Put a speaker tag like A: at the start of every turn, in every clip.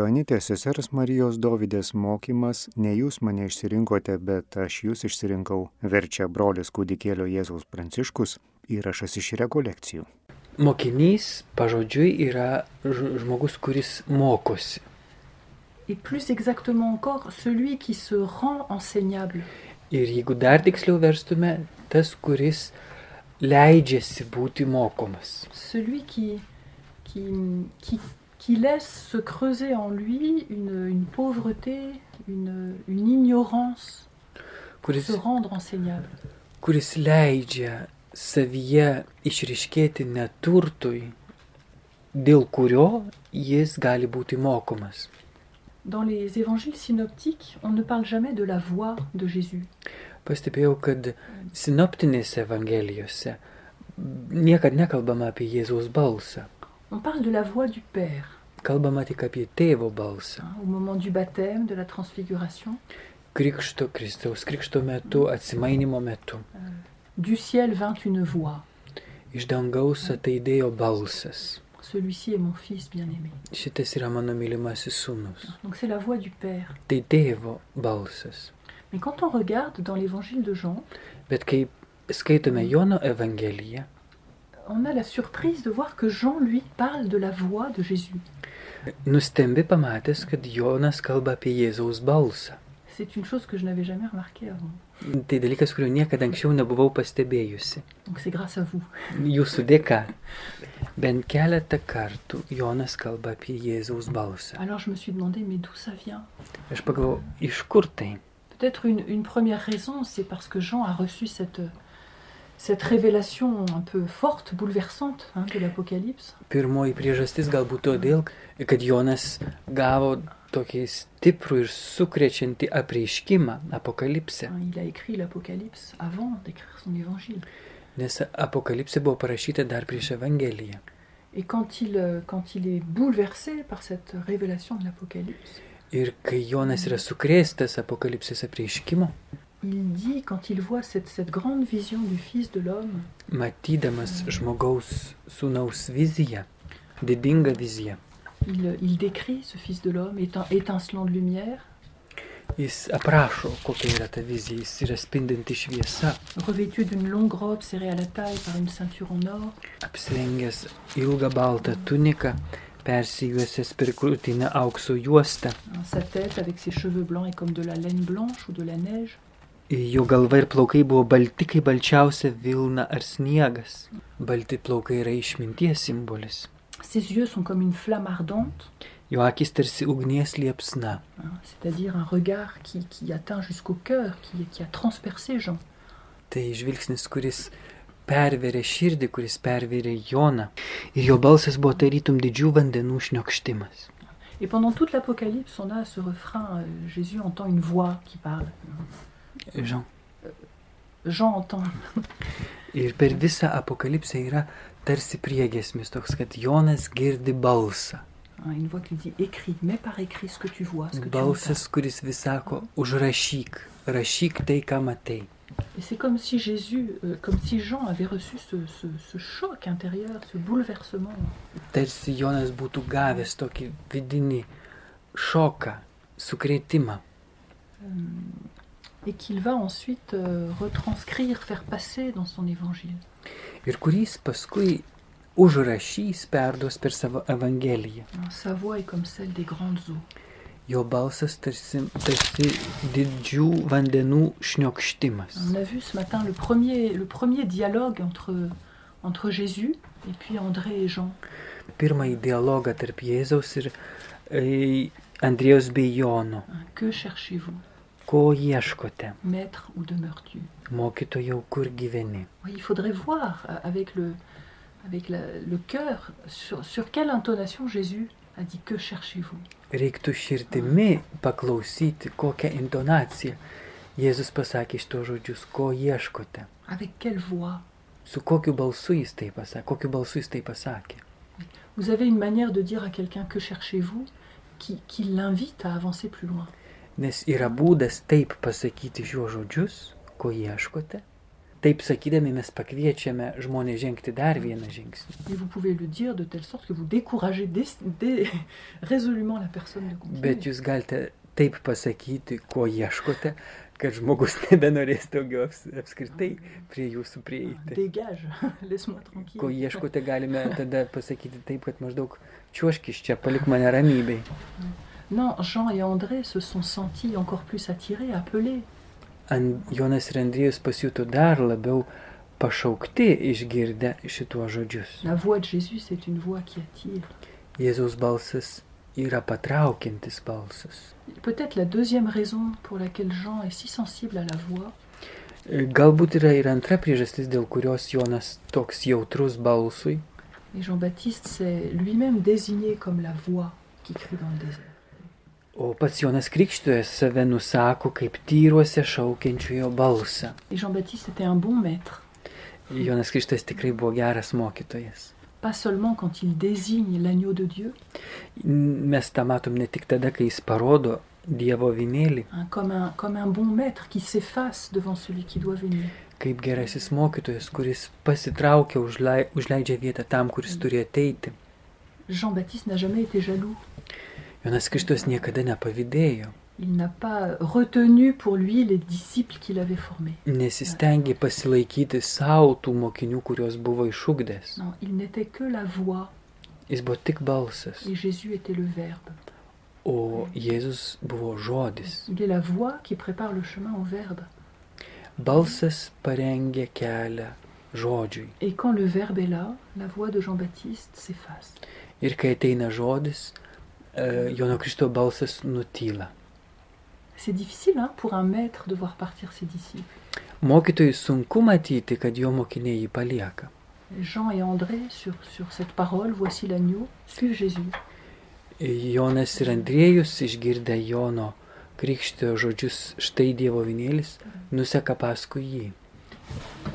A: Joanitės sesers Marijos Dovydės mokymas ne jūs mane išsirinkote, bet aš jūs išsirinkau, verčia brolis kūdikėlio Jėzaus Pranciškus įrašas iš rekolekcijų.
B: Mokinys pažodžiui yra žmogus, kuris mokosi.
C: et plus exactement encore celui qui se rend enseignable.
B: Ir jeigu dar tiksliau verstume, tas, kuris leidžiasi būti mokomas.
C: Celui qui, qui, qui, qui laisse se creuser en lui une, une pauvreté, une, une ignorance, pour
B: Kuris,
C: se rendre enseignable.
B: kuris leidžia savyje išriškėti neturtui, dėl kurio jis gali būti mokomas.
C: Dans les évangiles synoptiques, on ne parle jamais de la voix de Jésus.
B: Pastebėjau, kad sinoptinėse evangelijose niekad nekalbama apie Jėzaus balsą,
C: On parle de la voix du Père
B: kalbama tik apie tėvo balsą.
C: hein, au moment du baptême, de la transfiguration,
B: Krikšto Kristaus, krikšto metu, atsimainimo metu.
C: du ciel vint une voix.
B: Iš dangaus ateidėjo balsas.
C: Celui-ci est mon Fils bien-aimé.
B: Šitas yra mano mylimasis sūnus.
C: Donc c'est la voix du Père.
B: Tai tėvo balsas.
C: Mais quand on regarde dans l'évangile de Jean,
B: Bet kai skaitome Jono Evangeliją,
C: on a la surprise de voir que Jean, lui, parle de la voix de Jésus.
B: nustembi pamatęs, kad Jonas kalba apie Jėzaus balsą.
C: C'est une chose que je n'avais jamais remarquée avant.
B: Tai dalykas, kurio niekada anksčiau nebuvau pastebėjusi.
C: Donc c'est grâce à vous.
B: Jūsų dėka. Bent keletą kartų Jonas kalba apie Jėzaus balsą.
C: Alors je me suis demandé, mais d'où ça vient
B: Aš pagalvojau, iš kur tai?
C: Peut-être une, une première raison, c'est parce que Jean a reçu cette, cette révélation un peu forte, bouleversante hein, de l'Apocalypse.
B: Pirmoji priežastis galbūt todėl, kad Jonas gavo tokį stiprų ir sukrečiantį apreiškimą, apokalipsę.
C: Hein, Il a écrit l'Apocalypse avant d'écrire son évangile.
B: Nes apokalipsė buvo parašyta dar prieš Evangeliją.
C: Et quand il, euh, quand il est bouleversé par cette révélation de l'Apocalypse,
B: Ir kai Jonas yra sukrėstas apokalipsės apreiškimo,
C: il dit, quand il voit cette, cette grande vision du Fils de l'homme,
B: matydamas žmogaus sūnaus viziją, didingą viziją,
C: il, il décrit ce Fils de l'homme étin- étincelant de lumière,
B: jis aprašo, kokia yra ta vizija, jis yra spindinti šviesa,
C: revêtu d'une longue robe serrée à la taille par une ceinture en or,
B: apsirengęs ilgą baltą tuniką, persijuosęs per krūtinę aukso juostą,
C: hein, sa tête avec ses cheveux blancs est comme de la laine blanche ou de la neige.
B: jo galva ir plaukai buvo balti kaip balčiausia vilna ar sniegas. Balti plaukai yra išminties simbolis,
C: Ses yeux sont comme une flamme ardente,
B: jo akis tarsi ugnies liepsna.
C: hein, c'est-à-dire un regard qui, qui atteint jusqu'au cœur, qui, qui a transpercé Jean.
B: Tai žvilgsnis, kuris perverė širdį, kuris perverė Joną. Ir jo balsas buvo tarytum didžių vandenų šniokštimas.
C: Et pendant toute l'Apocalypse, on a ce refrain euh, Jésus entend une voix qui parle.
B: Žinau.
C: Jean entend.
B: Ir per visą apokalipsę yra tarsi priegesmis toks, kad Jonas girdi balsą.
C: hein, Une voix qui lui dit Écris, mets par écrit ce que tu vois, ce que tu entends.
B: Balsas, kuris vis sako, užrašyk, rašyk tai, ką matai.
C: Et c'est comme si Jésus, euh, comme si Jean avait reçu ce, ce- ce choc intérieur, ce bouleversement.
B: Tarsi Jonas būtų gavęs tokį vidinį šoką, sukrėtimą.
C: et qu'il va ensuite euh, retranscrire, faire passer dans son évangile.
B: Ir kuris paskui užrašys, perduos per savo Evangeliją.
C: Alors, Hein, Sa voix est comme celle des grandes eaux.
B: Jo balsas tarsi, tarsi didžių vandenų šniokštimas.
C: On a vu ce matin le premier, le premier dialogue entre, entre Jésus et puis André et Jean.
B: Pirmąjį dialogą tarp Jėzaus ir e, Andrėjos bei Jono.
C: hein, que cherchez-vous,
B: Ko ieškote,
C: maître ou demeures-tu
B: mokytojau, kur gyveni?
C: Oui, Il faudrait voir euh, avec le, avec la- le cœur sur, sur quelle intonation Jésus a dit que cherchez-vous.
B: Reiktų širdimi paklausyti, kokią intonaciją Jėzus pasakė šito žodžius, ko ieškote.
C: Avec quelle voix
B: Su kokiu balsu jis tai pasakė, kokiu balsu jis tai pasakė.
C: Vous avez une manière de dire à quelqu'un que cherchez-vous qui, qui l'invite à avancer plus loin.
B: Nes yra būdas taip pasakyti šiuo žodžius, ko ieškote, Taip sakydami mes pakviečiame žmonės žengti dar vieną žingsnį.
C: Et vous pouvez le dire de telle sorte que vous découragez dé- dé- résolument la personne de continuer. Ah,
B: Bet jūs galite taip pasakyti, ko ieškote, kad žmogus nebenorės daugiau aps- apskritai prie jūsų prieiti.
C: Dégage, laisse-moi tranquille.
B: Ko ieškote, galime tada pasakyti taip, kad maždaug čiuošk iš čia, palik mane ramybei.
C: Non, Jean et André se sont sentis encore plus attirés, appelés.
B: An- Jonas ir Andriejus pasijuto dar labiau pašaukti išgirdę šituos žodžius.
C: La voix de Jésus, c'est une voix qui attire.
B: Jėzaus balsas yra patraukiantis balsas.
C: Peut-être la deuxième raison pour laquelle Jean est si sensible à la voix,
B: E, Galbūt yra ir antra priežastis, dėl kurios Jonas toks jautrus balsui.
C: et Jean-Baptiste s'est lui-même désigné comme la voix qui crie dans le désert.
B: O pats Jonas Krikštojas save nusako kaip tyruose šaukiančiojo balsą.
C: Et Jean-Baptiste était un bon maître,
B: Jonas Krikštas tikrai buvo geras mokytojas.
C: pas seulement quand il désigne l'agneau de Dieu,
B: N- Mes tą matom ne tik tada, kai jis parodo Dievo vinėlį,
C: hein, comme, un, comme un bon maître qui s'efface devant celui qui doit venir.
B: kaip gerasis mokytojas, kuris pasitraukia, užlei, užleidžia vietą tam, kuris turi ateiti.
C: Jean-Baptiste n'a jamais été jaloux.
B: Jonas Krikštas niekada nepavydėjo,
C: Il n'a pas retenu pour lui les disciples qu'il avait formés.
B: nesistengė pasilaikyti savo tų mokinių, kuriuos buvo išugdęs.
C: Non, il n'était que la voix
B: Jis buvo tik balsas,
C: et Jésus était le Verbe.
B: o Jėzus buvo žodis.
C: Il est la voix qui prépare le chemin au Verbe.
B: Balsas parengė kelią žodžiui.
C: Et quand le Verbe est là, la voix de Jean-Baptiste s'efface.
B: Ir kai ateina žodis, e, Jono Kristo balsas nutyla.
C: C'est difficile hein, pour un maître de voir partir ses disciples.
B: Mokytojui sunku matyti, kad jo mokiniai jį palieka.
C: Jean et André, sur, sur cette parole, voici l'agneau, suivent Jésus.
B: Jonas ir Andriejus išgirdę Jono Krikštojo žodžius, štai Dievo vinėlis, nuseka paskui jį.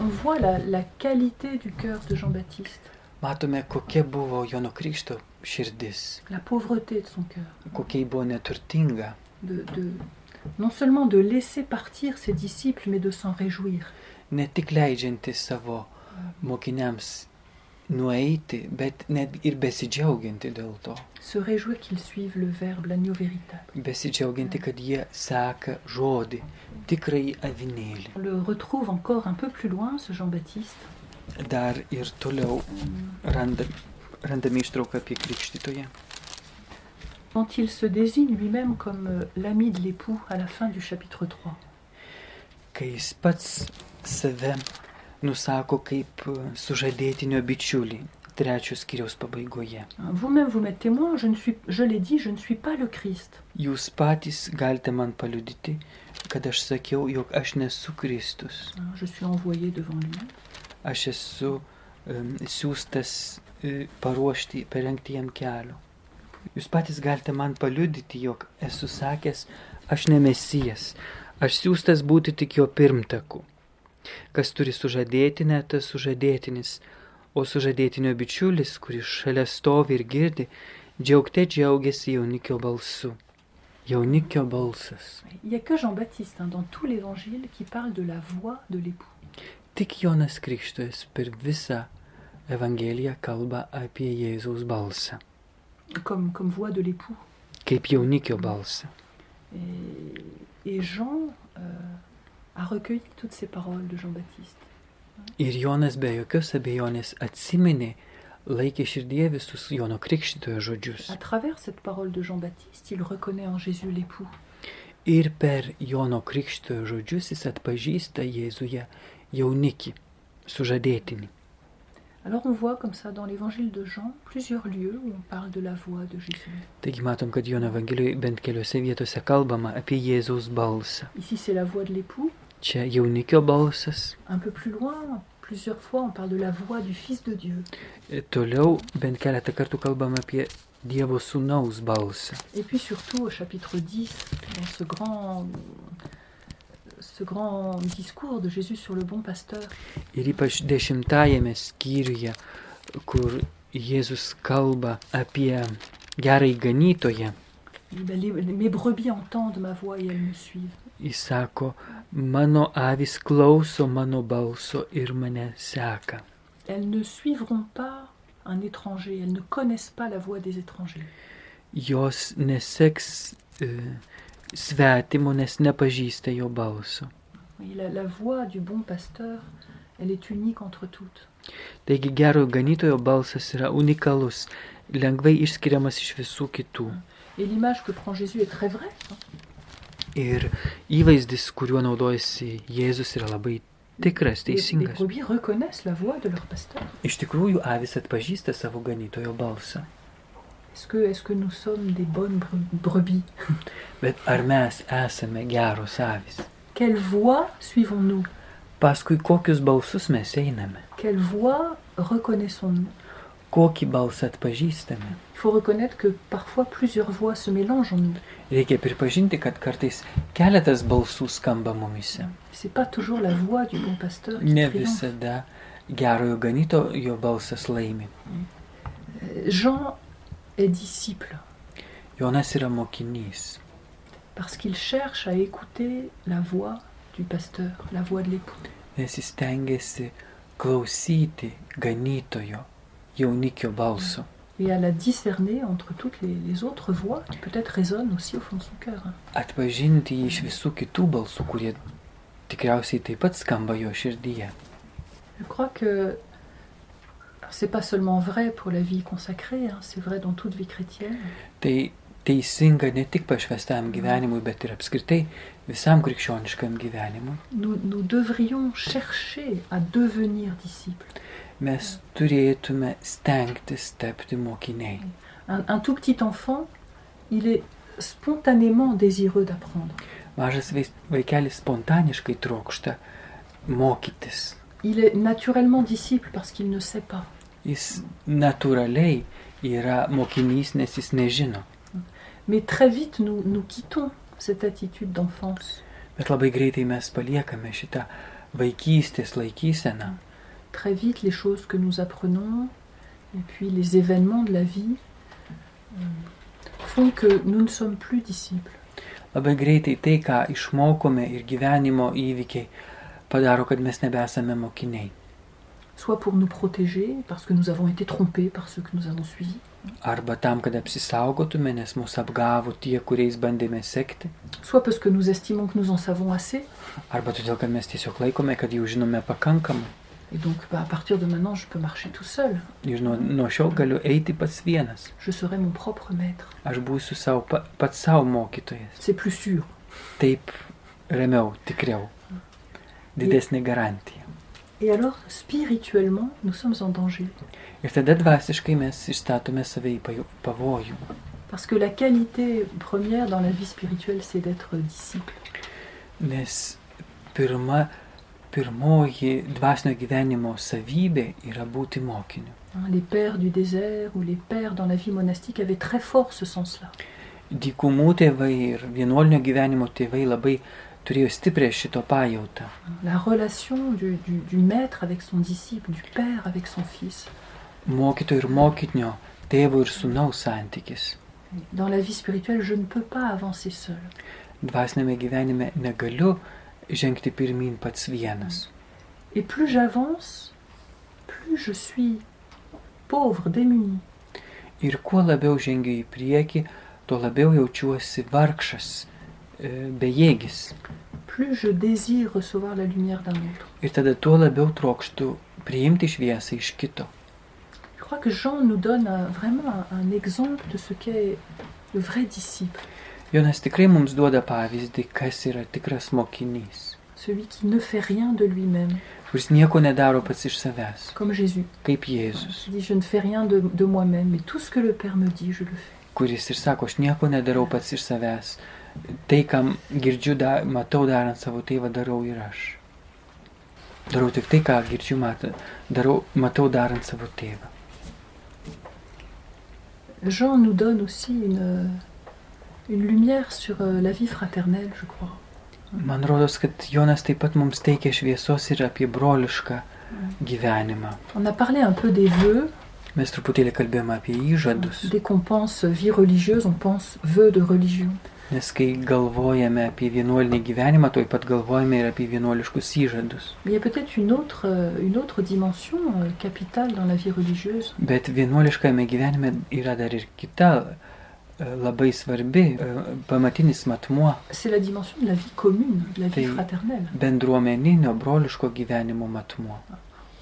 C: On voit la, la qualité du cœur de Jean-Baptiste,
B: Matome, kokia buvo Jono Krikšto širdis,
C: la pauvreté de son cœur,
B: kokia ji buvo neturtinga.
C: de, de- non seulement de laisser partir ses disciples, mais de s'en réjouir.
B: ne tik leidžianti savo mokiniams nueiti, bet net ir besidžiaugianti dėl to.
C: Se réjouir qu'ils suivent le Verbe, l'agneau véritable.
B: Besidžiaugianti, kad jie seka žodį, tikrai avinėlį.
C: On le retrouve encore un peu plus loin, ce Jean-Baptiste.
B: Dar ir toliau randa, randame ištrauką apie krikštytoje.
C: quand il se désigne lui-même comme euh, l'ami de l'époux à la fin du chapitre 3.
B: Kai jis pats save nusako kaip e, sužadėtinio bičiulį, trečios skyriaus pabaigoje.
C: Hein, Vous-même, vous m'êtes témoin, je, ne suis, je l'ai dit, je ne suis pas le Christ.
B: Jūs patys galite man paliudyti, kad aš sakiau, jog aš nesu Kristus.
C: Hein, Je suis envoyé devant lui.
B: aš esu um, siūstas e, paruošti, parengti jam kelio. Jūs patys galite man paliudyti, jog esu sakęs, aš nemesijas, aš siūstas būti tik jo pirmtaku. Kas turi sužadėtinę, tas sužadėtinis, o sužadėtinio bičiulis, kuris šalia stovi ir girdi, džiaugte džiaugiasi jaunikio balsu. Jaunikio balsas.
C: Il n'y a que Jean-Baptiste hein, dans tout l'évangile qui parle de la voix de l'époux.
B: Tik Jonas Krikštojas per visą Evangeliją kalba apie Jėzaus balsą,
C: Comme, comme voix de l'époux.
B: kaip jaunikio balsą.
C: Et, et Jean euh, a recueilli toutes ces paroles de Jean-Baptiste.
B: Ir Jonas be jokios abejonės atsiminė, laikė širdie visus Jono Krikštytojo žodžius.
C: À travers cette parole de Jean-Baptiste, il reconnaît en Jésus l'époux.
B: Ir per Jono Krikštytojo žodžius jis atpažįsta Jėzuje jaunikį, sužadėtinį.
C: Alors on voit comme ça dans l'évangile de Jean plusieurs lieux où on parle de la voix de Jésus.
B: Taigi matom, kad Jono Evangelijoje bent keliose vietose kalbama apie Jėzaus balsą.
C: Ici, c'est la voix de l'époux.
B: Čia jaunikio balsas,
C: Un peu plus loin, plusieurs fois, on parle de la voix du Fils de Dieu.
B: E, Toliau bent keletą kartų kalbam apie Dievo sūnaus balsą.
C: Et puis surtout au chapitre 10, dans ce grand, ce grand discours de Jésus sur le bon pasteur,
B: Ir ypač dešimtajame skyriuje, kur Jėzus kalba apie gerai ganytoje,
C: ben, les- mes brebis entendent ma voix et elles me suivent.
B: Jis sako, mano avis klauso mano balso ir mane seka.
C: Elles ne suivront pas un étranger, elles ne connaissent pas la voix des étrangers.
B: Jos neseks e, svetimo, nes nepažįsta jo balso.
C: Et la, la voix du bon pasteur, elle est unique entre toutes.
B: Taigi gerojo ganytojo balsas yra unikalus, lengvai išskiriamas iš visų kitų.
C: Et l'image que prend Jésus est très vraie. hein.
B: Ir įvaizdis, kuriuo naudojasi Jėzus, yra labai tikras,
C: Les, les
B: teisingas.
C: brebis reconnaissent la voix de leur pasteur.
B: Iš tikrųjų, avis atpažįsta savo ganytojo balsą.
C: Est-ce que, est-ce que nous sommes des bonnes bre- brebis
B: Bet ar mes esame geros avis?
C: Quelle voix suivons-nous
B: Paskui kokius balsus mes einame?
C: Quelle voix reconnaissons-nous
B: Kokį balsą atpažįstame?
C: Il faut reconnaître que parfois plusieurs voix se mélangent en nous.
B: Reikia pripažinti, kad kartais keletas balsų skamba mumise.
C: C'est pas toujours la voix du bon pasteur qui
B: Ne
C: triomphe.
B: visada gerojo ganytojo balsas laimi.
C: Euh, Jean est disciple
B: Jonas yra mokinys,
C: parce qu'il cherche à écouter la voix du pasteur, la voix de l'époux.
B: nes jis tengiasi klausyti ganytojo jaunikio balso.
C: et à la discerner entre toutes les, les autres voix qui peut-être résonnent aussi au fond de son cœur. hein.
B: Atpažinti jį iš visų kitų balsų, kurie tikriausiai taip pat skamba jo širdyje.
C: Je crois que alors, c'est pas seulement vrai pour la vie consacrée, hein, c'est vrai dans toute vie chrétienne.
B: Tai teisinga ne tik pašvestam gyvenimui, bet ir apskritai visam krikščioniškam gyvenimui.
C: Nous, nous devrions chercher à devenir disciples.
B: Mes turėtume stengtis tapti mokiniai.
C: Un, un tout petit enfant, il est spontanément désireux d'apprendre.
B: Mažas vais- vaikelis spontaniškai trokšta mokytis.
C: Il est naturellement disciple parce qu'il ne sait pas.
B: Jis natūraliai yra mokinys, nes jis nežino.
C: Mais très vite, nous, nous quittons cette attitude d'enfance.
B: Bet labai greitai mes paliekame šitą vaikystės laikyseną.
C: très vite les choses que nous apprenons et puis les événements de la vie euh, font que nous ne sommes plus disciples.
B: Labai greitai tai, ką išmokome ir gyvenimo įvykiai, padaro, kad mes nebesame mokiniai.
C: Soit pour nous protéger parce que nous avons été trompés par ceux que nous avons suivis,
B: Arba tam, kad apsisaugotume, nes mus apgavo tie, kuriais bandėme sekti.
C: soit parce que nous estimons que nous en savons assez.
B: Arba todėl, kad mes tiesiog laikome, kad jau žinome pakankamai.
C: Et donc bah, à partir de maintenant, je peux marcher tout seul.
B: Ir nuo, nuo šiol galiu eiti pats vienas.
C: Je serai mon propre maître.
B: Aš būsiu savo, pa, pats savo mokytojas.
C: C'est plus sûr.
B: Taip ramiau, tikriau. Didesnė garantija.
C: Et alors, spirituellement, nous sommes en danger.
B: Ir tada dvasiškai mes išstatome save į paju- pavojų.
C: Parce que la qualité première dans la vie spirituelle, c'est d'être disciple.
B: Nes pirma, pirmoji dvasinio gyvenimo savybė yra būti mokiniu.
C: Hein, Les pères du désert ou les pères dans la vie monastique avaient très fort ce sens-là.
B: Dykumų tėvai ir vienuolinio gyvenimo tėvai labai turėjo stiprią šito pajautą.
C: La relation du, du- du maître avec son disciple, du père avec son fils.
B: Mokytojo ir mokinio, tėvo ir sunaus santykis.
C: Dans la vie spirituelle, je ne peux pas avancer seul.
B: Dvasinėme gyvenime negaliu žengti pirmin pats vienas.
C: Et plus j'avance, plus je suis pauvre, démunie.
B: Ir kuo labiau žengiu į priekį, tuo labiau jaučiuosi vargšas, e, bejėgis.
C: Plus je désire recevoir la lumière d'un autre.
B: Ir tada tuo labiau trokštu priimti šviesą iš kito.
C: Je crois que Jean nous donne un- vraiment un, un exemple de ce qu'est le vrai disciple,
B: Jonas tikrai mums duoda pavyzdį, kas yra tikras mokinys,
C: celui qui ne fait rien de lui-même,
B: kuris nieko nedaro pats iš savęs,
C: comme Jésus.
B: kaip Jėzus,
C: Il dit, je ne fais rien de, de moi-même, mais tout ce que le Père me dit, je le fais.
B: kuris ir sako, aš nieko nedarau pats iš savęs, tai, kam girdžiu, da, matau darant savo tėvą, darau ir aš. Darau tik tai, ką girdžiu, matau, darau, matau darant savo tėvą.
C: Jean nous donne aussi une, euh, une lumière sur euh, la vie fraternelle, je crois.
B: Man rodos, kad Jonas taip pat mums teikia šviesos ir apie brolišką gyvenimą.
C: On a parlé un peu des vœux,
B: Mes truputėlį kalbėjome apie įžadus,
C: Dès qu'on pense vie religieuse, on pense vœu de religion.
B: nes kai galvojame apie vienuolinį gyvenimą, toj pat galvojame ir apie vienuoliškus įžadus.
C: Mais il y a peut-être une autre, euh, une autre dimension euh, capitale dans la vie religieuse.
B: Bet vienuoliškame gyvenime yra dar ir kita e, labai svarbi e, pamatinis matmuo
C: C'est la dimension de la vie commune, de la vie
B: Et-
C: fraternelle.
B: bendruomeninio, broliško gyvenimo matmuo.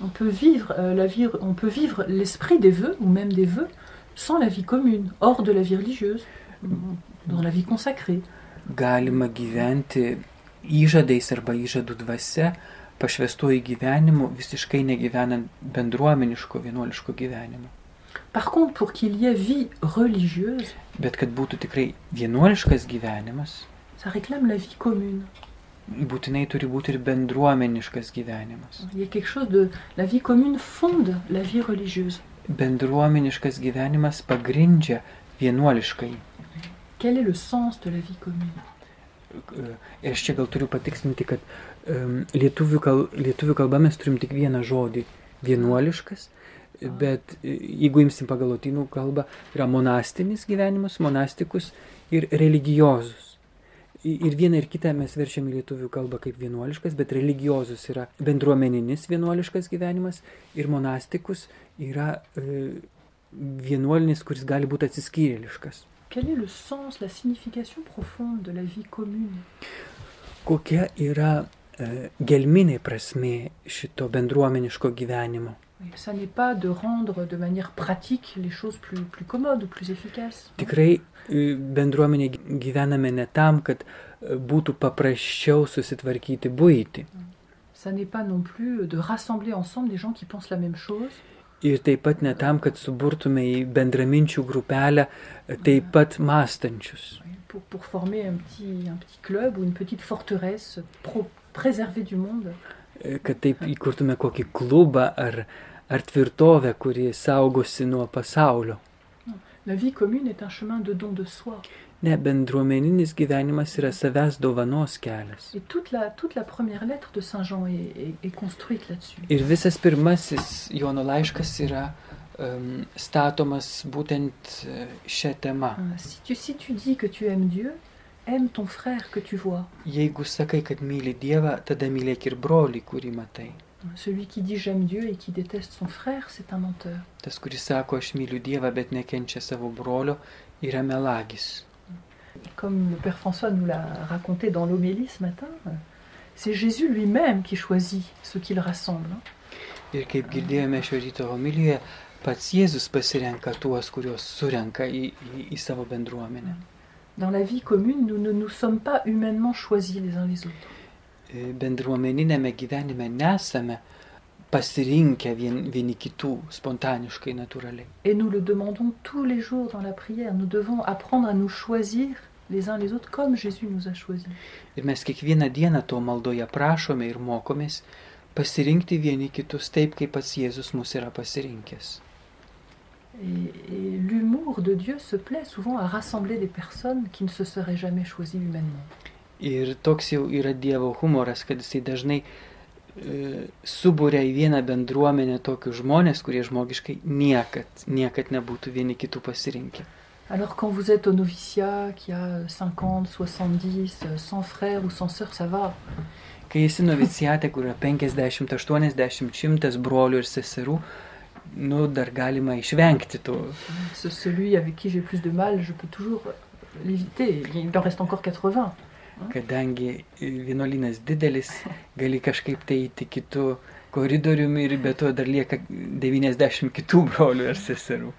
C: On peut vivre euh, la vie, on peut vivre l'esprit des vœux ou même des vœux sans la vie commune, hors de la vie religieuse, dans la vie consacrée.
B: Galima gyventi įžadais arba įžadų dvasia, pašvestuoju gyvenimu, visiškai negyvenant bendruomeniško, vienuoliško gyvenimo.
C: Par contre, pour qu'il y ait vie religieuse,
B: Bet kad būtų tikrai vienuoliškas gyvenimas,
C: ça réclame la vie commune.
B: būtinai turi būti ir bendruomeniškas gyvenimas.
C: Il y a quelque chose de la vie commune fonde la vie religieuse.
B: Bendruomeniškas gyvenimas pagrindžia vienuoliškai.
C: Quel est le sens de la vie commune
B: Ir E, aš čia gal turiu patikslinti, kad um, lietuvių, kal, lietuvių kalba mes turim tik vieną žodį - vienuoliškas. Bet e, jeigu imsim pagal lotynų kalbą, yra monastinis gyvenimas, monastikus ir religiozus. I- Ir vieną ir kitą mes verčiam į lietuvių kalbą kaip vienuoliškas, bet religiozus yra bendruomeninis vienuoliškas gyvenimas ir monastikus yra e, vienuolinis, kuris gali būti atsiskyrėliškas.
C: Quel est le sens, la signification profonde de la vie commune
B: Kokia yra e, gelminė prasme šito bendruomeniško gyvenimo?
C: Oui, Ça n'est pas de rendre de manière pratique les choses plus, plus commodes ou plus efficaces.
B: Tikrai e, bendruomenė gy- gyvename ne tam, kad e, būtų paprasčiau susitvarkyti būti.
C: Ça n'est pas non plus de rassembler ensemble des gens qui pensent la même chose.
B: Ir taip pat ne tam, kad suburtume į bendraminčių grupelę e, taip pat mąstančius.
C: Oui, pour, pour former un petit, un petit club ou une petite forteresse pro- préservée du monde.
B: E, Kad taip įkurtume kokį klubą ar, ar tvirtovę, kuri saugosi nuo pasaulio.
C: La vie commune est un chemin de don de soi.
B: Ne, bendruomeninis gyvenimas yra savęs dovanos kelias.
C: Et toute la, toute la première lettre de Saint Jean est, est- est construite là-dessus.
B: Ir visas pirmasis Jono laiškas yra um, statomas būtent e, šią temą.
C: Hein, Si tu, si tu dis que tu aimes Dieu, aime ton frère que tu vois.
B: Jeigu sakai, kad myli Dievą, tada mylėk ir brolį, kurį matai.
C: Celui qui dit j'aime Dieu et qui déteste son frère, c'est un menteur.
B: Tas, kuris sako, aš myliu Dievą, bet nekenčia savo brolio, yra melagis.
C: Comme le Père François nous l'a raconté dans l'homélie ce matin, euh, c'est Jésus lui-même qui choisit ce qu'il rassemble. hein.
B: Ir kaip girdėjome šio ryto homilijoje, pats Jėzus pasirenka tuos, kuriuos surenka į, į, į savo bendruomenę.
C: Dans la vie commune, nous ne nous sommes pas humainement choisis les uns les autres.
B: E, Bendruomeninėme gyvenime nesame pasirinkę vien, vieni kitų spontaniškai, natūraliai.
C: Et nous le demandons tous les jours dans la prière. Nous devons apprendre à nous choisir les uns les autres comme Jésus nous a choisis.
B: Ir mes kiekvieną dieną to maldoje prašome ir mokomės pasirinkti vieni kitus taip, kaip pats Jėzus mus yra pasirinkęs.
C: Et, et l'humour de Dieu se plaît souvent à rassembler des personnes qui ne se seraient jamais choisies humainement.
B: Ir toks jau yra Dievo humoras, kad jisai dažnai e, suburia į vieną bendruomenę tokius žmonės, kurie žmogiškai niekad, niekad nebūtų vieni kitų pasirinkę.
C: Alors quand vous êtes au noviciat, qui a 50, 70, 100 frères ou 100 sœurs, ça va.
B: Kai esi novicijate, kur yra 50, 80, 100 brolių ir seserų, nu dar galima išvengti tų
C: Ce- Celui avec qui j'ai plus de mal, je peux toujours l'éviter. Il en reste encore 80.
B: kadangi vienuolynas didelis, gali kažkaip tai eiti kitų koridoriumi ir be to dar lieka 90 kitų brolių ar seserų.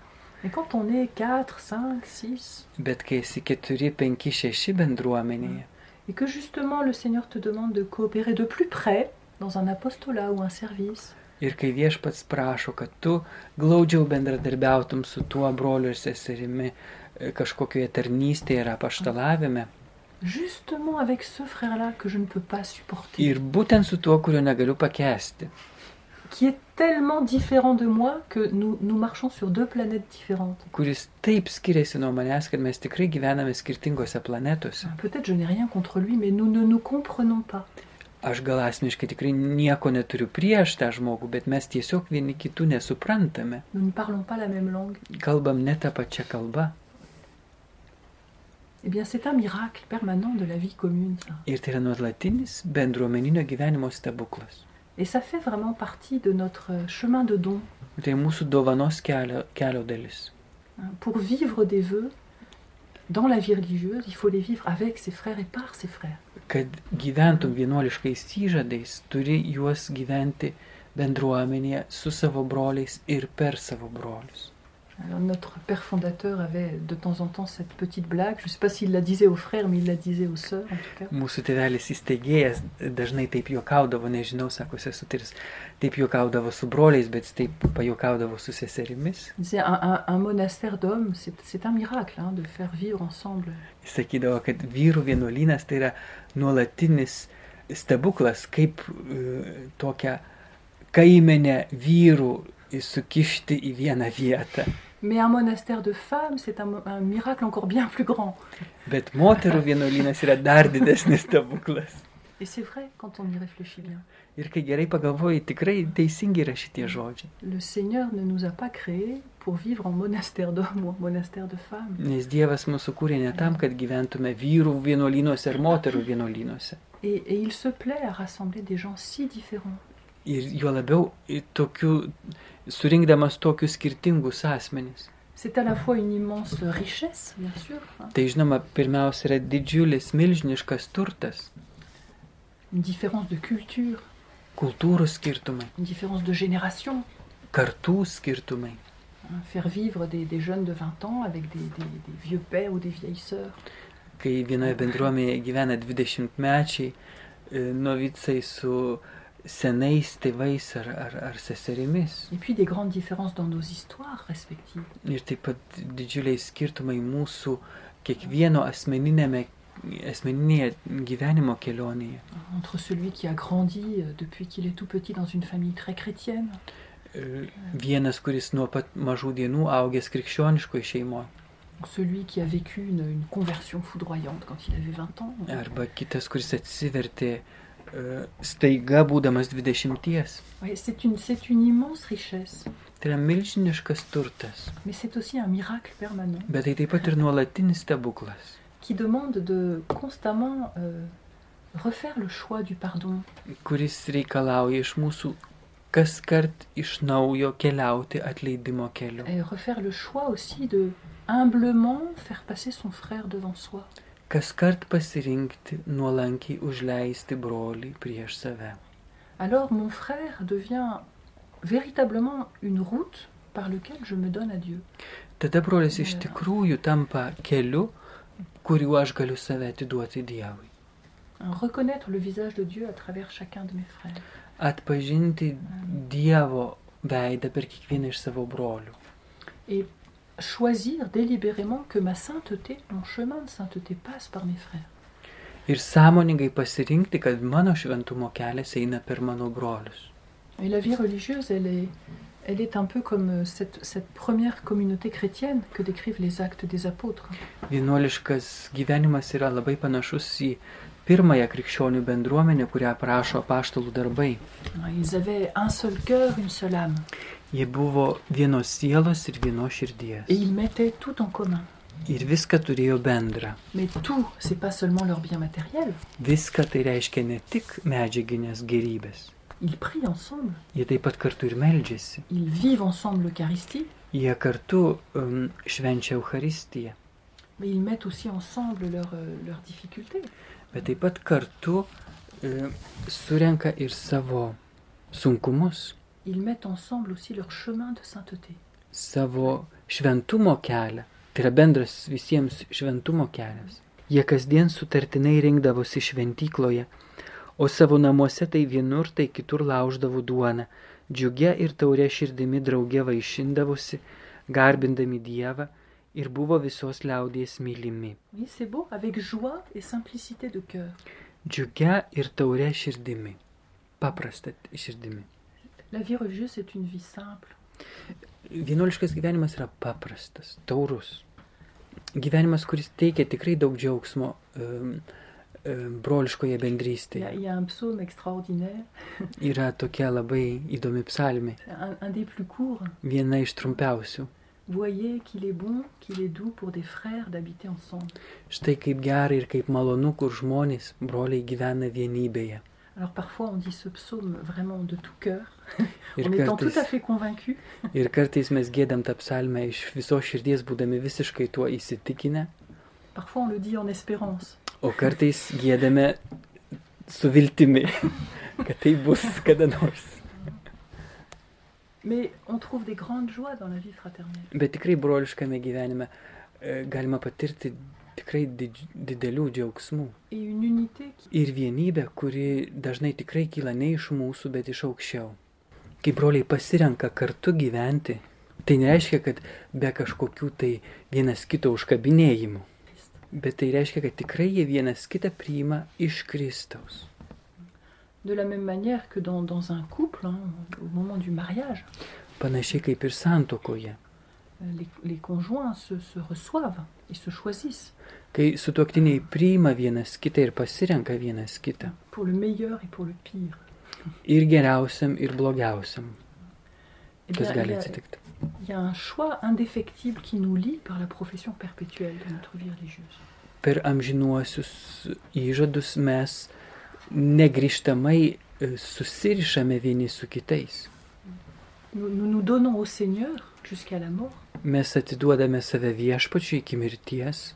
C: Mais quand on est 4, 5, 6,
B: Bet kai esi 4, 5, 6 bendruomenėje
C: et que justement le Seigneur te demande de coopérer de plus près dans un apostolat ou un service,
B: ir kai viešpats prašo, kad tu glaudžiau bendradarbiautum su tuo broliu ir seserimi e, kažkokioje tarnystėje ar apaštalavime
C: justement avec ce frère-là que je ne peux pas supporter,
B: ir būtent su tuo, kurio negaliu pakesti,
C: qui est tellement différent de moi que nous, nous marchons sur deux planètes différentes.
B: kuris taip skiriasi nuo manęs, kad mes tikrai gyvename skirtingose planetose.
C: Peut-être je n'ai rien contre lui, mais nous ne nous comprenons pas.
B: Aš gal asmeniškai tikrai nieko neturiu prieš tą žmogų, bet mes tiesiog vieni kitų nesuprantame.
C: Nous ne parlons pas la même langue.
B: Kalbam ne tą pačią kalbą.
C: Eh bien, c'est un miracle permanent de la vie commune, ça.
B: Ir tai yra nuolatinis bendruomeninio gyvenimo stebuklas.
C: Et ça fait vraiment partie de notre euh, chemin de don.
B: Tai mūsų dovanos kelio, kelio dalis.
C: hein. Pour vivre des vœux dans la vie religieuse, il faut les vivre avec ses frères et par ses frères.
B: Kad gyventum vienuoliškais įžadais, turi juos gyventi bendruomenėje su savo broliais ir per savo brolius.
C: Alors, notre père fondateur avait de temps en temps cette petite blague. Je ne sais pas s'il la disait aux frères, mais il la disait aux sœurs, en tout cas.
B: Mūsų tėvelis įsteigėjas dažnai taip juokaudavo, nežinau, sako sesutris, taip juokaudavo su broliais, bet jis taip pajuokaudavo su seserimis.
C: Il disait, un, un- un monastère d'hommes, c'est c'est un miracle hein, de faire vivre ensemble.
B: Jis sakydavo, kad vyrų vienuolynas tai yra nuolatinis stebuklas, kaip e, tokią kaimenę vyrų sukišti į vieną vietą.
C: Mais un monastère de femmes, c'est un, un miracle encore bien plus grand.
B: Bet moterų vienuolynas yra dar didesnis stebuklas.
C: Et c'est vrai quand on y réfléchit bien.
B: Ir kai gerai pagalvoji, tikrai teisingi yra šitie žodžiai.
C: Le Seigneur ne nous a pas créés pour vivre en monastère d'hommes ou en monastère de femmes.
B: Nes Dievas mūsų kūrė ne tam, kad gyventume vyrų vienuolynuose ir moterų vienuolynuose.
C: Et, et il se plaît à rassembler des gens si différents.
B: Ir juo labiau į tokių, surinkdamas tokius skirtingus asmenys.
C: C'est à la fois une immense richesse, bien sûr, hein,
B: Tai žinoma, pirmiausia yra didžiulis, milžiniškas turtas,
C: une différence de culture,
B: kultūrų skirtumai,
C: une différence de génération.
B: kartų skirtumai.
C: hein. Faire vivre des, des jeunes de 20 ans avec des, des- des vieux pères ou des vieilles sœurs.
B: Kai vienoje bendruomenėje gyvena 20-mečiai e, novicai su senais tėvais ar, ar, ar seserimis.
C: Et puis des grandes différences dans nos histoires respectives.
B: Ir taip pat didžiuliai skirtumai mūsų kiekvieno asmeninėme, asmeninėje gyvenimo kelionėje.
C: hein, Entre celui qui a grandi euh, depuis qu'il est tout petit dans une famille très chrétienne,
B: E, Vienas, kuris nuo pat mažų dienų augęs krikščioniškoje šeimoje,
C: celui qui a vécu une, une conversion foudroyante quand il avait 20 ans.
B: arba kitas, kuris atsivertė e, staiga būdamas 20.
C: Oui, c'est une, c'est une immense richesse,
B: Tai yra milžiniškas turtas,
C: mais c'est aussi un miracle permanent
B: bet tai taip pat ir nuolatinis stebuklas,
C: qui demande de constamment euh, refaire le choix du pardon.
B: kuris reikalauja iš mūsų kas kart iš naujo keliauti atleidimo keliu.
C: Et refaire le choix aussi de humblement faire passer son frère devant soi.
B: kas kart pasirinkti nuolankiai užleisti brolį prieš save.
C: Alors mon frère devient véritablement une route par laquelle je me donne à Dieu.
B: Tada brolis iš
C: Jo.
B: tikrųjų tampa keliu, kuriuo aš galiu save atiduoti Dievui.
C: Hein, Reconnaître le visage de Dieu à travers chacun de mes frères.
B: Atpažinti Dievo veidą per kiekvieną iš savo brolių.
C: Et choisir délibérément que ma sainteté, mon chemin de sainteté passe par mes frères.
B: Ir sąmoningai pasirinkti, kad mano šventumo kelias eina per mano brolius.
C: Et la vie religieuse, elle est, elle est un peu comme euh, cette, cette première communauté chrétienne que décrivent les actes des apôtres.
B: Vienuoliškas gyvenimas yra labai panašus į pirmąją krikščionių bendruomenę, kurią aprašo apaštalų darbai.
C: Ils avaient un seul cœur, une seule âme.
B: Jie buvo vienos sielos ir vienos širdies.
C: Et ils mettaient tout en commun.
B: Ir viską turėjo bendra.
C: Mais tout, c'est pas seulement leur bien matériel.
B: Viską tai reiškia ne tik medžiaginės gerybės.
C: Ils prient ensemble,
B: Jie taip pat kartu ir meldžiasi.
C: ils vivent ensemble l'Eucharistie,
B: Jie kartu um, švenčia Euharistiją.
C: mais ils mettent aussi ensemble leurs euh, leurs difficultés.
B: Bet taip pat kartu e, surenka ir savo sunkumus,
C: Ils mettent ensemble aussi leur chemin de sainteté.
B: savo šventumo kelią. Tai yra bendras visiems šventumo kelias. Jie kasdien sutartinai rinkdavosi šventykloje, o savo namuose tai vienur, tai kitur lauždavo duoną, džiugia ir taurė širdimi drauge vaišindavosi, garbindami Dievą ir buvo visos liaudies mylimi.
C: Oui, c'est beau, avec joie et simplicité de cœur.
B: Džiugia ir taurė širdimi. Paprasta širdimi.
C: La vie religieuse, c'est une vie simple.
B: Vienuoliškas gyvenimas yra paprastas, taurus. Gyvenimas, kuris teikia tikrai daug džiaugsmo, em, e, broliškoje
C: Il y,
B: bendrystėje.
C: a, il y a un psaume extraordinaire,
B: Yra tokia labai įdomi psalmė,
C: un, un des plus courts.
B: viena iš trumpiausių.
C: Voyez qu'il est bon, qu'il est doux pour des frères d'habiter ensemble.
B: Štai kaip gera ir kaip malonu, kur žmonės, broliai gyvena vienybėje.
C: Alors parfois on dit ce psaume vraiment de tout cœur,
B: Ir
C: en étant tout
B: kartais,
C: à fait convaincu,
B: ir kartais mes gėdam tą psalmę iš visos širdies, būdami visiškai tuo įsitikinę,
C: parfois on le dit en espérance.
B: o kartais gėdame su viltimi, kad tai bus kada nors.
C: Mais on trouve des grandes joies dans la vie fraternelle.
B: Bet tikrai broliškame gyvenime e, galima patirti tikrai didž- didelių džiaugsmų.
C: Et une unité qui...
B: Ir vienybė, kuri dažnai tikrai kyla ne iš mūsų, bet iš aukščiau. Kai broliai pasirenka kartu gyventi, tai nereiškia, kad be kažkokių tai vienas kito užkabinėjimų. Bet tai reiškia, kad tikrai jie vienas kitą priima iš Kristaus.
C: De la même manière que dans, dans un couple, hein, au moment du mariage,
B: Panašiai kaip ir santokoje.
C: euh, les, les conjoints se, se reçoivent et se choisissent
B: Kai sutuoktiniai priima vienas kitą ir pasirenka vienas kitą.
C: pour le meilleur et pour le pire.
B: Ir geriausiam, ir blogiausiam.
C: Eh
B: Kas
C: bien, il,
B: gali
C: y a,
B: atsitikti.
C: il y a un choix indéfectible qui nous lie par la profession perpétuelle de notre vie religieuse.
B: Per amžinuosius įžadus mes negrižtamai e, susirišame vieni su kitais.
C: Nous nous, nous donnons au Seigneur jusqu'à la mort.
B: Mes atiduodame save viešpačiui iki mirties,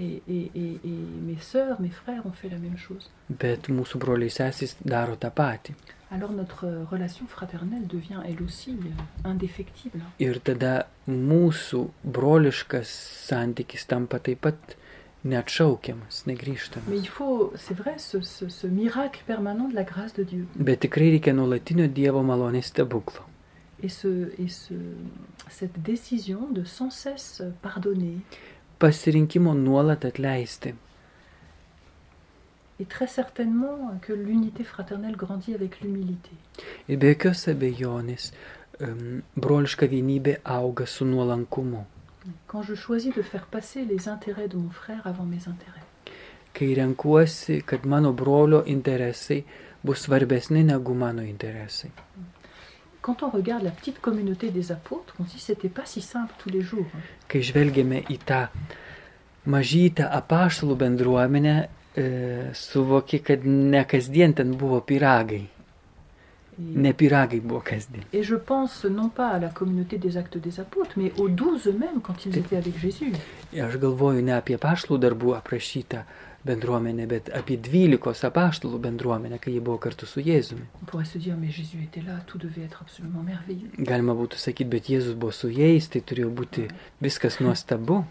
C: Et, et- et- et mes sœurs, mes frères ont fait la même chose.
B: bet mūsų broliai sesys daro tą patį.
C: Alors notre euh, relation fraternelle devient elle aussi euh, indéfectible.
B: Ir tada mūsų broliškas santykis tampa taip pat neatšaukiamas,
C: Mais il
B: negryžtamas.
C: faut, c'est vrai, ce, ce- ce miracle permanent de la grâce de Dieu
B: Bet tikrai reikia nuolatinio Dievo malonės stebuklo.
C: et, ce, et ce- cette décision de sans cesse pardonner.
B: Pasirinkimo nuolat atleisti.
C: Et très certainement que l'unité fraternelle grandit avec l'humilité.
B: Ir be jokios abejonės, em, broliška vienybė auga su nuolankumu.
C: Quand je choisis de faire passer les intérêts de mon frère avant mes intérêts.
B: Kai renkuosi, kad mano brolio interesai bus svarbesni negu mano interesai.
C: Quand on regarde la petite communauté des apôtres, on se dit c'était pas si simple tous les jours. hein.
B: Kai žvelgiame į tą mažytę apaštalų bendruomenę, e, suvoki, kad ne kasdien ten buvo piragai.
C: Et-
B: Ne piragai buvo kasdien.
C: Et je pense non pas à la communauté des actes des apôtres, mais aux douze eux-mêmes quand ils étaient avec Jésus.
B: Ir Aš galvoju ne apie apaštalų darbų aprašytą bendruomenę, bet apie dvylikos apaštalų bendruomenę, kai jie buvo kartu su Jėzumi.
C: On pourrait se dire, mais Jésus était là, tout devait être absolument merveilleux.
B: Galima būtų sakyti, bet Jėzus buvo su jais, tai turėjo būti viskas nuostabu.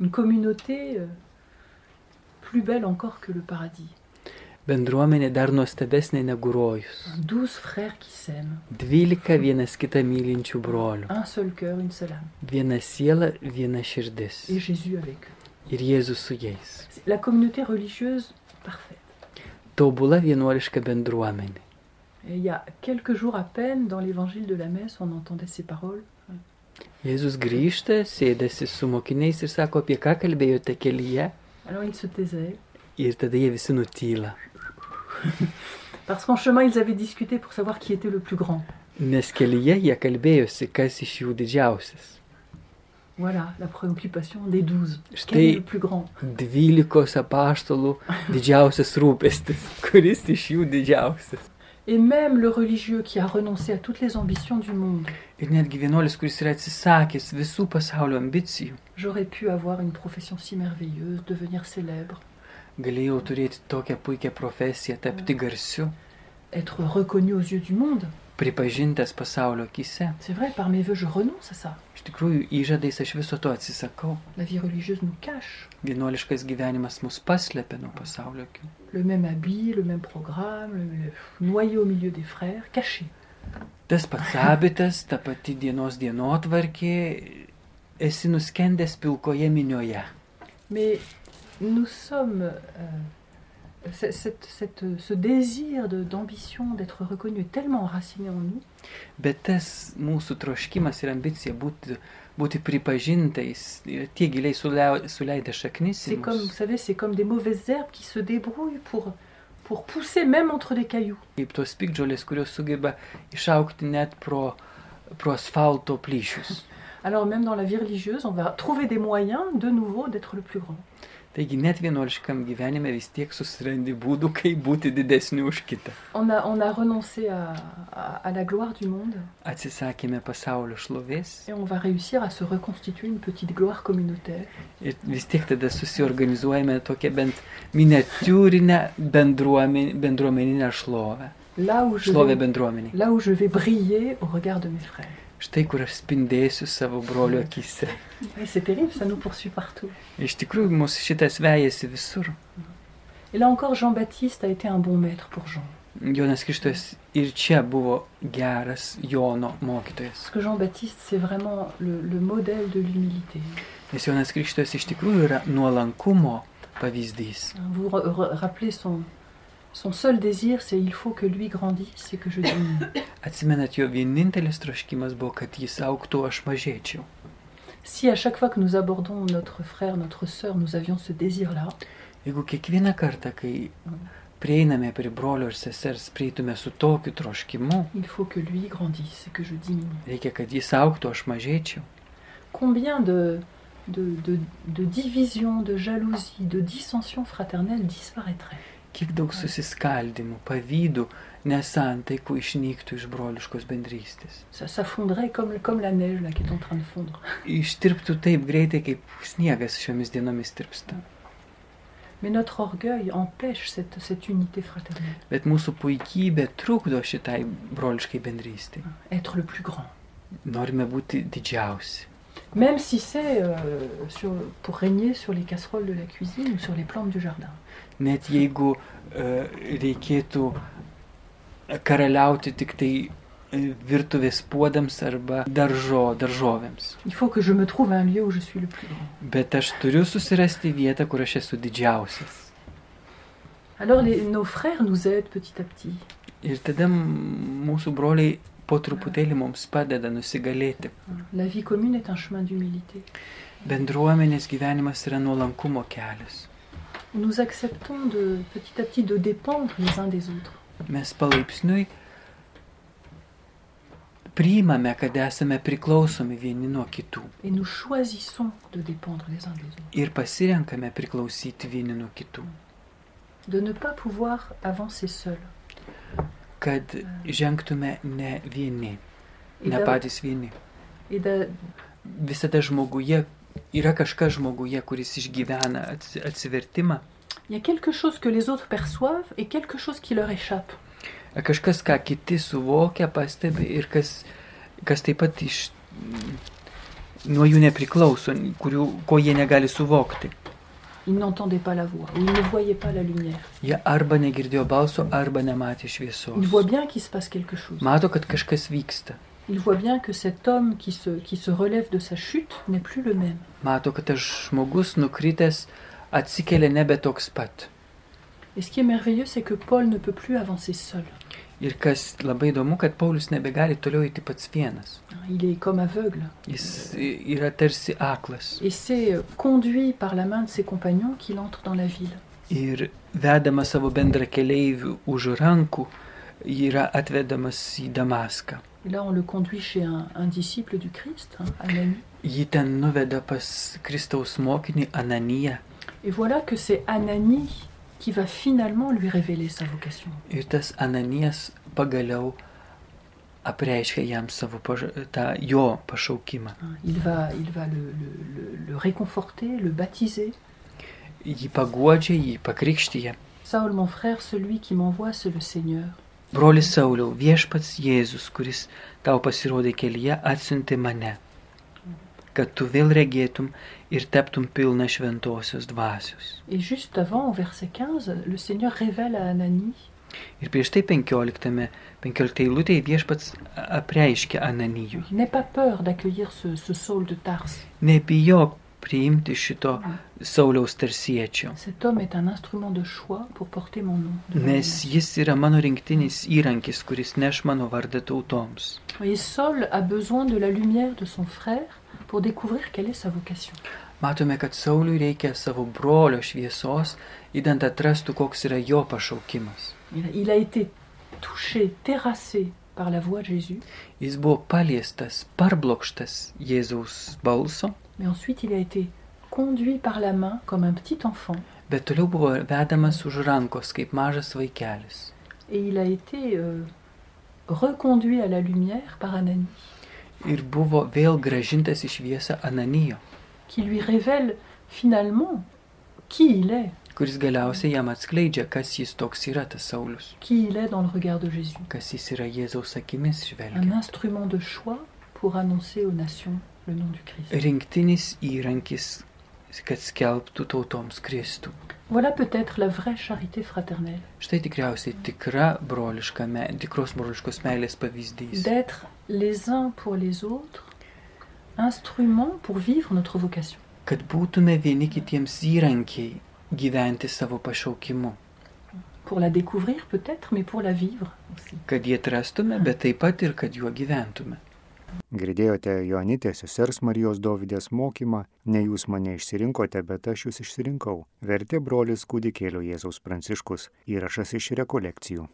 C: Une communauté euh, plus belle encore que le paradis.
B: Bendruomenė dar nuostabesnė negu rojus.
C: Douze frères qui s'aiment,
B: Dvylika vienas kitą mylinčių brolių.
C: un seul cœur, une seule âme,
B: Viena siela, viena širdis.
C: et Jésus avec eux.
B: Ir Jėzus su jais.
C: C'est La communauté religieuse parfaite.
B: Tobula vienuoliška bendruomenė.
C: Et il y a quelques jours à peine, dans l'évangile de la messe, on entendait ces paroles.
B: Jėzus grįžta, sėdasi su mokiniais ir sako, apie ką kalbėjote kelyje.
C: Alors ils se taisaient,
B: Ir tada jie visi nutyla.
C: parce qu'en chemin, ils avaient discuté pour savoir qui était le plus grand.
B: Nes kelyje jie kalbėjosi, kas iš jų didžiausias.
C: Voilà la préoccupation des douze.
B: Je
C: Quel est
B: t'ai-
C: le plus grand
B: dvylikos apaštalų didžiausias rūpestis, kuris iš jų didžiausias.
C: Et même le religieux qui a renoncé à toutes les ambitions du monde,
B: Ir netgi vienuolis, kuris yra atsisakęs visų pasaulio ambicijų,
C: j'aurais pu avoir une profession si merveilleuse, devenir célèbre,
B: galėjau turėti tokią puikią profesiją, tapti garsiu,
C: être reconnu aux yeux du monde.
B: pripažintas pasaulio akise.
C: C'est vrai, par mes voeux, je renonce à ça.
B: Iš tikrųjų, įžadais aš viso to atsisakau.
C: La vie religieuse nous cache
B: Vienuoliškas gyvenimas mus paslėpia nuo pasaulio akių.
C: le même habit, le même programme, le- le- noyé au milieu des frères, caché.
B: Tas pats abitas, ta pati dienos dienotvarkė, esi nuskendęs pilkoje minioje.
C: Mais nous sommes... euh, c- cette- cette- ce désir de- d'ambition, d'être reconnu est tellement enraciné en nous
B: Bet tas mūsų troškimas ir ambicija būti būti pripažintais ir tie giliai sulea- suleidę šaknis. į
C: C'est comme, vous
B: mus.
C: savez, c'est comme des mauvaises herbes qui se débrouillent pour, pour pousser même entre des cailloux.
B: Kaip tos pikdžiolės, kurios sugeba išaukti net pro, pro asfalto plyšius.
C: Alors même dans la vie religieuse, on va trouver des moyens de nouveau d'être le plus grand.
B: Taigi net vienuoliškam gyvenime vis tiek susirandi būdų, kaip būti didesniu už kitą.
C: On a, on a renoncé à, à- à la gloire du monde
B: Atsisakėme pasaulio šlovės
C: et on va réussir à se reconstituer une petite gloire communautaire.
B: ir vis tiek tada susiorganizuojame tokią bent miniatiūrinę bendruomen, bendruomeninę šlovę.
C: Là où, je
B: Šlovę
C: vais,
B: bendruomeniai.
C: là où je vais briller au regard de mes frères.
B: Štai kur aš spindėsiu savo brolio akise.
C: Et c'est terrible, ça nous poursuit partout.
B: Iš tikrųjų, mūsų šitas vejasi visur.
C: Et là encore, Jean-Baptiste a été un bon maître pour Jean.
B: Jonas Krishtojas ir čia buvo geras Jono mokytojas.
C: Parce que Jean-Baptiste, c'est vraiment le, le modèle de l'humilité.
B: Nes Jonas Krishtojas iš tikrųjų yra nuolankumo pavyzdys.
C: Vous re- re- rappelez son, son seul désir, c'est il faut que lui grandisse et que je diminue.
B: Atsimenat, jo vienintelis troškimas buvo, kad jis auktų, o aš mažėčiau.
C: si à chaque fois que nous abordons notre frère, notre sœur, nous avions ce désir-là,
B: Jeigu kiekvieną kartą, kai prieiname prie brolio ir sesers, prieitume su tokiu troškimu,
C: il faut que lui grandisse et que je diminue.
B: reikia, kad jis auktų, o aš mažėčiau.
C: Combien de, de, de, de divisions, de jalousies, de dissensions fraternelles disparaîtraient
B: Kiek daug susiskaldimų, pavydų, nesantaikų išnyktų iš broliškos bendrystės.
C: Ça s'affondrait comme, comme la neige là, qui est en train de fondre.
B: Ištirptų taip greitai, kaip sniegas šiomis dienomis tirpsta.
C: Mais notre orgueil empêche cette, cette unité fraternelle.
B: Bet mūsų puikybė trukdo šitai broliškai bendrystė.
C: Être le plus grand.
B: Norime būti didžiausi.
C: Même si c'est euh, sur- pour régner sur les casseroles de la cuisine ou sur les plantes du jardin.
B: Net jeigu e, reikėtų karaliauti tik tai e, virtuvės puodams arba daržo, daržovėms.
C: Il faut que je me trouve un lieu où je suis le plus grand.
B: Bet aš turiu susirasti vietą, kur aš esu didžiausias.
C: Alors les- nos frères nous aident petit à petit.
B: Ir tada m- mūsų broliai po truputėlį mums padeda nusigalėti.
C: hein. La vie commune est un chemin d'humilité.
B: Bendruomenės gyvenimas yra nuolankumo kelias.
C: Nous acceptons de, petit à petit de dépendre les uns des autres.
B: Mes palaipsniui priimame, kad esame priklausomi vieni nuo kitų
C: Et nous choisissons de dépendre les uns des autres.
B: ir pasirenkame priklausyti vieni nuo kitų.
C: De ne pas pouvoir avancer seul.
B: Kad žengtume ne vieni,
C: Et
B: ne
C: d'a-
B: patys vieni.
C: et d'a-
B: Visada žmoguje yra kažkas žmoguje, kuris išgyvena atsi- atsivertimą
C: il y a quelque chose que les autres perçoivent et quelque chose qui leur échappe.
B: kažkas, ką kiti suvokia, pastebi ir kas, kas taip pat iš, nuo jų nepriklauso, kurių, ko jie negali suvokti.
C: Ils n'entendaient pas la voix ou ils ne voyaient pas la lumière.
B: Jie arba negirdėjo balso, arba nematė
C: Ils voient
B: šviesos.
C: bien qu'il se passe quelque chose.
B: Mato, kad kažkas vyksta.
C: Il voit bien que cet homme qui se, qui se relève de sa chute n'est plus le même.
B: Mato, kad tas žmogus nukritęs atsikelia nebe toks pat.
C: Et ce qui est merveilleux, c'est que Paul ne peut plus avancer seul.
B: Ir kas labai įdomu, kad Paulius nebegali toliau eiti pats vienas.
C: Il est comme aveugle.
B: Jis yra tarsi aklas.
C: Et c'est euh, conduit par la main de ses compagnons qu'il entre dans la ville.
B: ir vedama savo bendra keleivių už rankų yra atvedamas į Damaską.
C: Et là, on le conduit chez un, un disciple du Christ, hein, un ami.
B: Ji ten nuveda pas Kristaus mokinį Ananiją
C: Et voilà que c'est Ananie qui va finalement lui révéler sa vocation.
B: ir tas Ananijas pagaliau apreiškia jam savo paž... tą jo pašaukimą.
C: hein. Il va, il va le, le- le- le réconforter, le baptiser.
B: Jį paguodžia, jį pakrikštyje.
C: Saul, mon frère, celui qui m'envoie, c'est le Seigneur.
B: Brolis Sauliau, viešpats Jėzus, kuris tau pasirodė kelyje, atsiunti mane, kad tu vėl regėtum ir taptum pilna šventosios dvasios.
C: Et juste avant, au verset 15, le Seigneur révèle à Ananie
B: Ir prieš tai 15, 15 eilutėje viešpats apreiškia Ananijui.
C: N'aie pas peur d'accueillir ce, ce Saul de Tarse.
B: Nebijok priimti šito Sauliaus tarsiečio,
C: Cet homme est un instrument de choix pour porter mon nom. devant les
B: nes
C: nations.
B: jis yra mano rinktinis įrankis, kuris neš mano vardą tautoms.
C: Et Saul a besoin de la lumière de son frère pour découvrir quelle est sa vocation.
B: Matome, kad Sauliui reikia savo brolio šviesos, įdant atrastų, koks yra jo pašaukimas.
C: Il a, il a été touché, terrassé par la voix de Jésus,
B: Jis buvo paliestas, parblokštas Jėzaus balso,
C: mais ensuite il a été conduit par la main comme un petit enfant
B: bet toliau buvo vedamas už rankos kaip mažas vaikelis.
C: et il a été euh, reconduit à la lumière par Ananie,
B: Ir buvo vėl gražintas į šviesą Ananijo,
C: qui lui révèle finalement qui il est,
B: kuris galiausiai jam atskleidžia, kas jis toks yra tas Saulis,
C: qui il est dans le regard de Jésus.
B: kas jis yra Jėzaus akimis
C: Un
B: žvelgiant.
C: instrument de choix pour annoncer aux nations le nom du Christ.
B: Rinktinis įrankis, kad skelbtų tautoms Kristų.
C: Voilà peut-être la vraie charité fraternelle,
B: Štai tikriausiai tikra broliška, me- tikros broliškos meilės pavyzdys.
C: d'être les uns pour les autres, instruments pour vivre notre vocation.
B: Kad būtume vieni kitiems įrankiai gyventi savo pašaukimu.
C: Pour la découvrir peut-être, mais pour la vivre aussi.
B: Kad jį atrastume, bet taip pat ir kad juo gyventume.
A: Girdėjote Joanitės sesers Marijos Dovydės mokymą, ne jūs mane išsirinkote, bet aš jūs išsirinkau. Vertė brolis kūdikėlio Jėzaus Pranciškus, įrašas iš rekolekcijų.